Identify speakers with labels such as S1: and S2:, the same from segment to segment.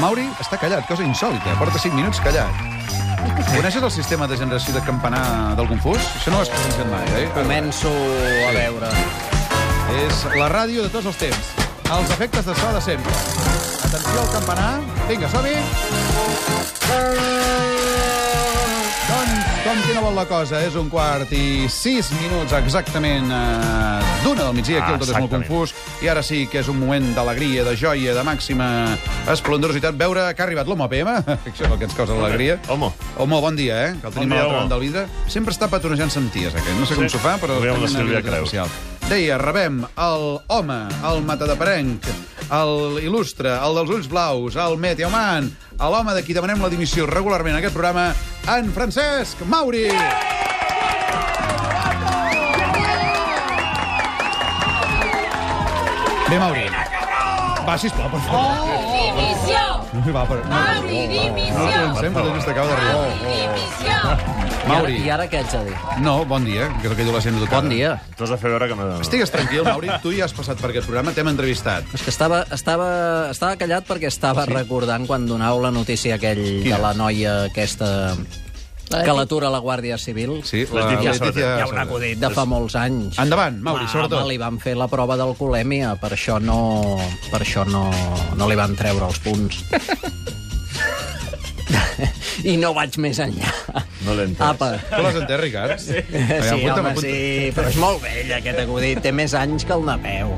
S1: Mauri està callat, cosa insòlita. Porta 5 minuts callat. Coneixes el sistema de generació de campanar del Confús? Això no ho has presenciat mai, eh?
S2: Començo a veure.
S1: És la ràdio de tots els temps. Els efectes de so de sempre. Atenció al campanar. Vinga, som-hi. Doncs, com que no vol la cosa, és un quart i sis minuts exactament eh, d'una del migdia, aquí el tot és molt
S3: Exactament.
S1: confús, i ara sí que és un moment d'alegria, de joia, de màxima esplendorositat. Veure que ha arribat l'home PM, això és el que ens causa l'alegria.
S3: Homo.
S1: Homo, bon dia, eh? Que el tenim
S3: Bon
S1: bon a
S3: dia,
S1: l'altra
S3: homo.
S1: banda del vidre. Sempre està patrocinant senties, aquest. No sé com
S3: Sí.
S1: s'ho fa, però...
S3: Veiem la
S1: tenim una
S3: Sílvia
S1: habilitat
S3: Creus.
S1: especial. Deia, rebem el home, el matadeperenc, el il·lustre, el dels ulls blaus, el meteoman, l'home de qui demanem la dimissió regularment en aquest programa, en Francesc Mauri. Bé, Mauri. Va, sisplau, per favor.
S4: Dimissió!
S1: Va, per... No,
S4: Mauri,
S1: no,
S4: dimissió!
S1: no, sempre just acaba d'arribar.
S4: Mauri, dimissió!
S1: Mauri.
S2: I ara, i ara què haig de dir?
S1: No, bon dia, que és el que diu la gent educada.
S2: Bon dia.
S3: T'has de fer veure que no...
S1: Estigues
S3: Ah.
S1: tranquil, Mauri, tu ja has passat per aquest programa, t'hem entrevistat.
S2: És que estava, estava, estava callat perquè estava sí. recordant quan donau la notícia aquell
S1: Quina?
S2: de la noia aquesta que l'atura la Guàrdia Civil.
S1: Sí,
S3: Les
S1: la
S3: Lídia
S1: Letícia...
S3: Soler. Hi ha
S1: Soler.
S2: De fa molts anys.
S1: Endavant, Mauri,
S2: Va, home,
S1: sobretot.
S2: li van fer la prova d'alcoholèmia, per això no... per això no, no li van treure els punts. I no vaig més enllà.
S3: No l'he entès.
S2: Apa.
S1: Tu l'has entès, Ricard? Sí,
S2: Sí, home, sí, però és molt vell aquest acudit. Té més anys que el Napeu.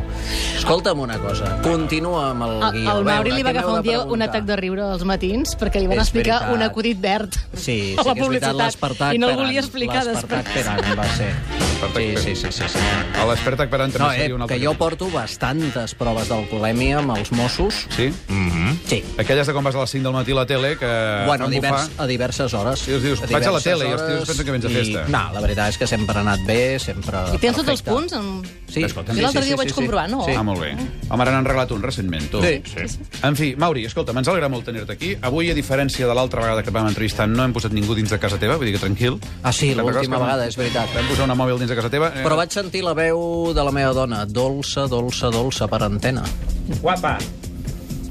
S2: Escolta'm una cosa, continua amb el
S5: El,
S2: guió.
S5: el Mauri li va
S2: A veure, què
S5: agafar
S2: m'heu
S5: un dia
S2: preguntar?
S5: un atac de riure als matins perquè li van
S2: És
S5: explicar
S2: veritat.
S5: un acudit verd
S2: Sí,
S5: a
S2: sí que
S5: la
S2: és veritat,
S5: publicitat.
S2: l'Espartac
S5: I no el
S2: Peran,
S5: volia explicar després.
S2: L'Espartac Peran eh, va ser.
S1: L'Espartac
S2: Sí, sí, sí, sí, sí.
S1: A l'Espertac Peran també
S2: No, eh,
S1: seria un altre.
S2: que jo porto bastantes proves d'alcoholèmia amb els Mossos.
S1: Sí? Mm?
S2: Sí.
S1: Aquelles de quan vas a les 5 del matí a la tele, que
S2: Bueno, a,
S1: fan
S2: divers,
S1: bufar.
S2: a diverses hores.
S1: I els dius,
S2: A
S1: "Vaig a la
S2: diverses
S1: tele", i els
S2: hores,
S1: tios pensen que vens a festa.
S2: I, no, la veritat és que sempre ha anat bé, sempre...
S5: I tens tots els
S2: perfecte.
S5: punts? En...
S2: Sí.
S1: Escolta,
S5: Jo l'altre dia ho vaig comprovar, no?
S2: Sí.
S1: Ah, molt bé. Home, ara n'han arreglat un recentment, tu.
S2: Sí.
S3: Sí.
S1: En fi, Mauri, escolta, ens alegra molt tenir-te aquí. Avui, a diferència de l'altra vegada que et vam entrevistar, no hem posat ningú dins de casa teva, vull dir que tranquil.
S2: Ah, sí,
S1: Te'n recordes
S2: l'última
S1: que vam-
S2: vegada, és veritat.
S1: Vam posar una mòbil dins de casa teva. Eh,
S2: Però vaig sentir la veu de la meva dona, dolça, dolça, dolça, per antena.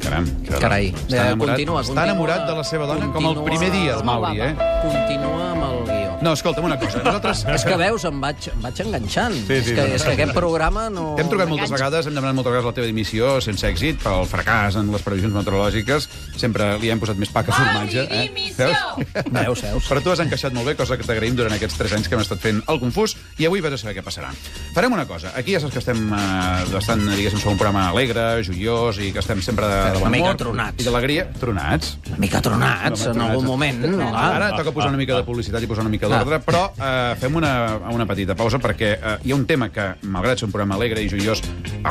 S1: Caram.
S2: Carai. Eh,
S1: Està enamorat,
S2: continua,
S1: està
S2: continua.
S1: enamorat de la seva dona com el
S2: Continua.
S1: primer dia, el
S2: És
S5: molt
S1: Mauri, eh?
S5: guapa.
S2: Continua amb el guió.
S1: No, escolta'm una cosa. Nosaltres...
S2: És que veus, em vaig, em vaig enganxant.
S3: Sí,
S2: és
S3: sí,
S2: que,
S3: sí.
S2: és que aquest programa no...
S1: T'hem trucat moltes vegades, hem demanat moltes vegades la teva dimissió, sense èxit, pel fracàs en les previsions meteorològiques. Sempre li hem posat més pa que formatge. eh?
S4: Mauri, dimissió!
S2: Veus, veus?
S1: Però tu has encaixat molt bé, cosa que t'agraïm durant aquests 3 anys que hem estat fent el confús, i avui vas a saber què passarà. Farem una cosa. Aquí ja saps que estem eh, bastant, diguéssim, som un programa alegre, joiós, i que estem sempre de, de
S2: Una mica
S1: l'amor
S2: tronats.
S1: I d'alegria. Tronats.
S2: Una mica tronats, en algun moment. No,
S1: Ara
S2: clar.
S1: toca posar una mica de publicitat i posar una mica d'ordre, però eh, fem una, una petita pausa perquè eh, hi ha un tema que, malgrat ser un programa alegre i joiós,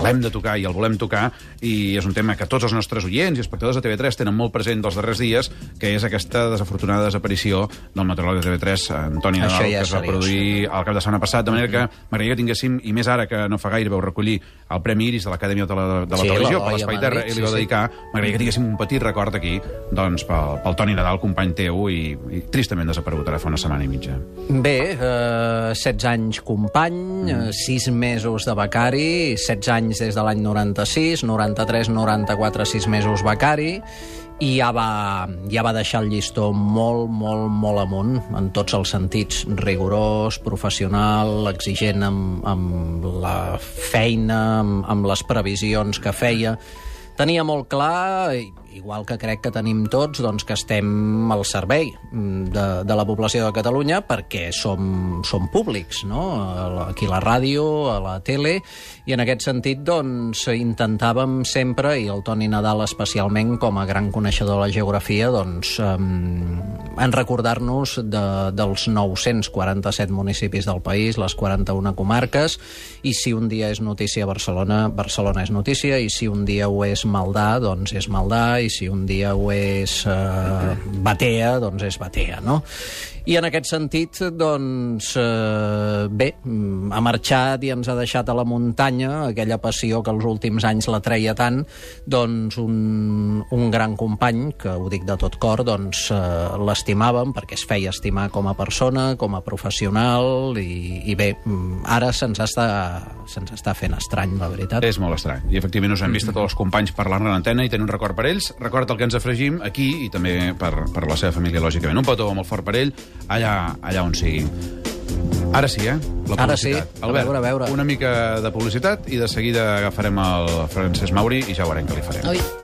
S1: l'hem de tocar i el volem tocar, i és un tema que tots els nostres oients i espectadors de TV3 tenen molt present dels darrers dies, que és aquesta desafortunada desaparició del meteoròleg de TV3, Antoni Nadal,
S2: Això ja
S1: que
S2: és
S1: es va
S2: seriós.
S1: produir el cap de setmana passat, de manera que m'agradaria que tinguéssim, i més ara que no fa gaire vau recollir el Premi Iris de l'Acadèmia de la, de la
S2: Sí,
S1: Televisió
S2: l'Eloi
S1: per
S2: a
S1: l'Espai
S2: Madrid,
S1: Terra, i
S2: sí,
S1: li vau
S2: sí.
S1: dedicar destacar. M'agradaria que diguéssim un petit record aquí doncs, pel, pel Toni Nadal, company teu, i, i tristament desaparegut ara fa una setmana i mitja.
S2: Bé, eh, 16 anys company, eh, 6 mesos de becari, 16 anys des de l'any 96, 93, 94, 6 mesos becari, i ja va, ja va deixar el llistó molt, molt, molt amunt, en tots els sentits, rigorós, professional, exigent amb, amb la feina, amb, amb les previsions que feia, tenia molt clar, i- igual que crec que tenim tots, doncs que estem al servei mm, de, de la població de Catalunya perquè som, som públics, no? A la- Aquí a la ràdio, a la tele, i en aquest sentit doncs, intentàvem sempre, i el Toni Nadal especialment, com a gran coneixedor de la geografia, doncs, em, en recordar-nos de, dels 947 municipis del país, les 41 comarques, i si un dia és notícia Barcelona, Barcelona és notícia, i si un dia ho és Maldà, doncs és Maldà, i si un dia ho és eh, Batea, doncs és Batea, no? I en aquest sentit, doncs, eh, bé, mm, ha marxat i ens ha deixat a la muntanya aquella passió que els últims anys la treia tant, doncs un, un gran company, que ho dic de tot cor, doncs eh, l'estimàvem perquè es feia estimar com a persona, com a professional, i, i bé, mm, ara se'ns està, se'ns està fent estrany, la veritat.
S1: És molt estrany. I efectivament us hem vist a tots els companys parlant a l'antena i tenir un record per ells. Record el que ens afregim aquí i també per, per la seva família, lògicament. Un petó molt fort per ell, allà, allà on sigui. Ara sí, eh? La
S2: Ara
S1: publicitat.
S2: sí. A veure, a veure.
S1: una mica de publicitat i de seguida agafarem el Francesc Mauri i ja veurem què li farem.
S5: Ui.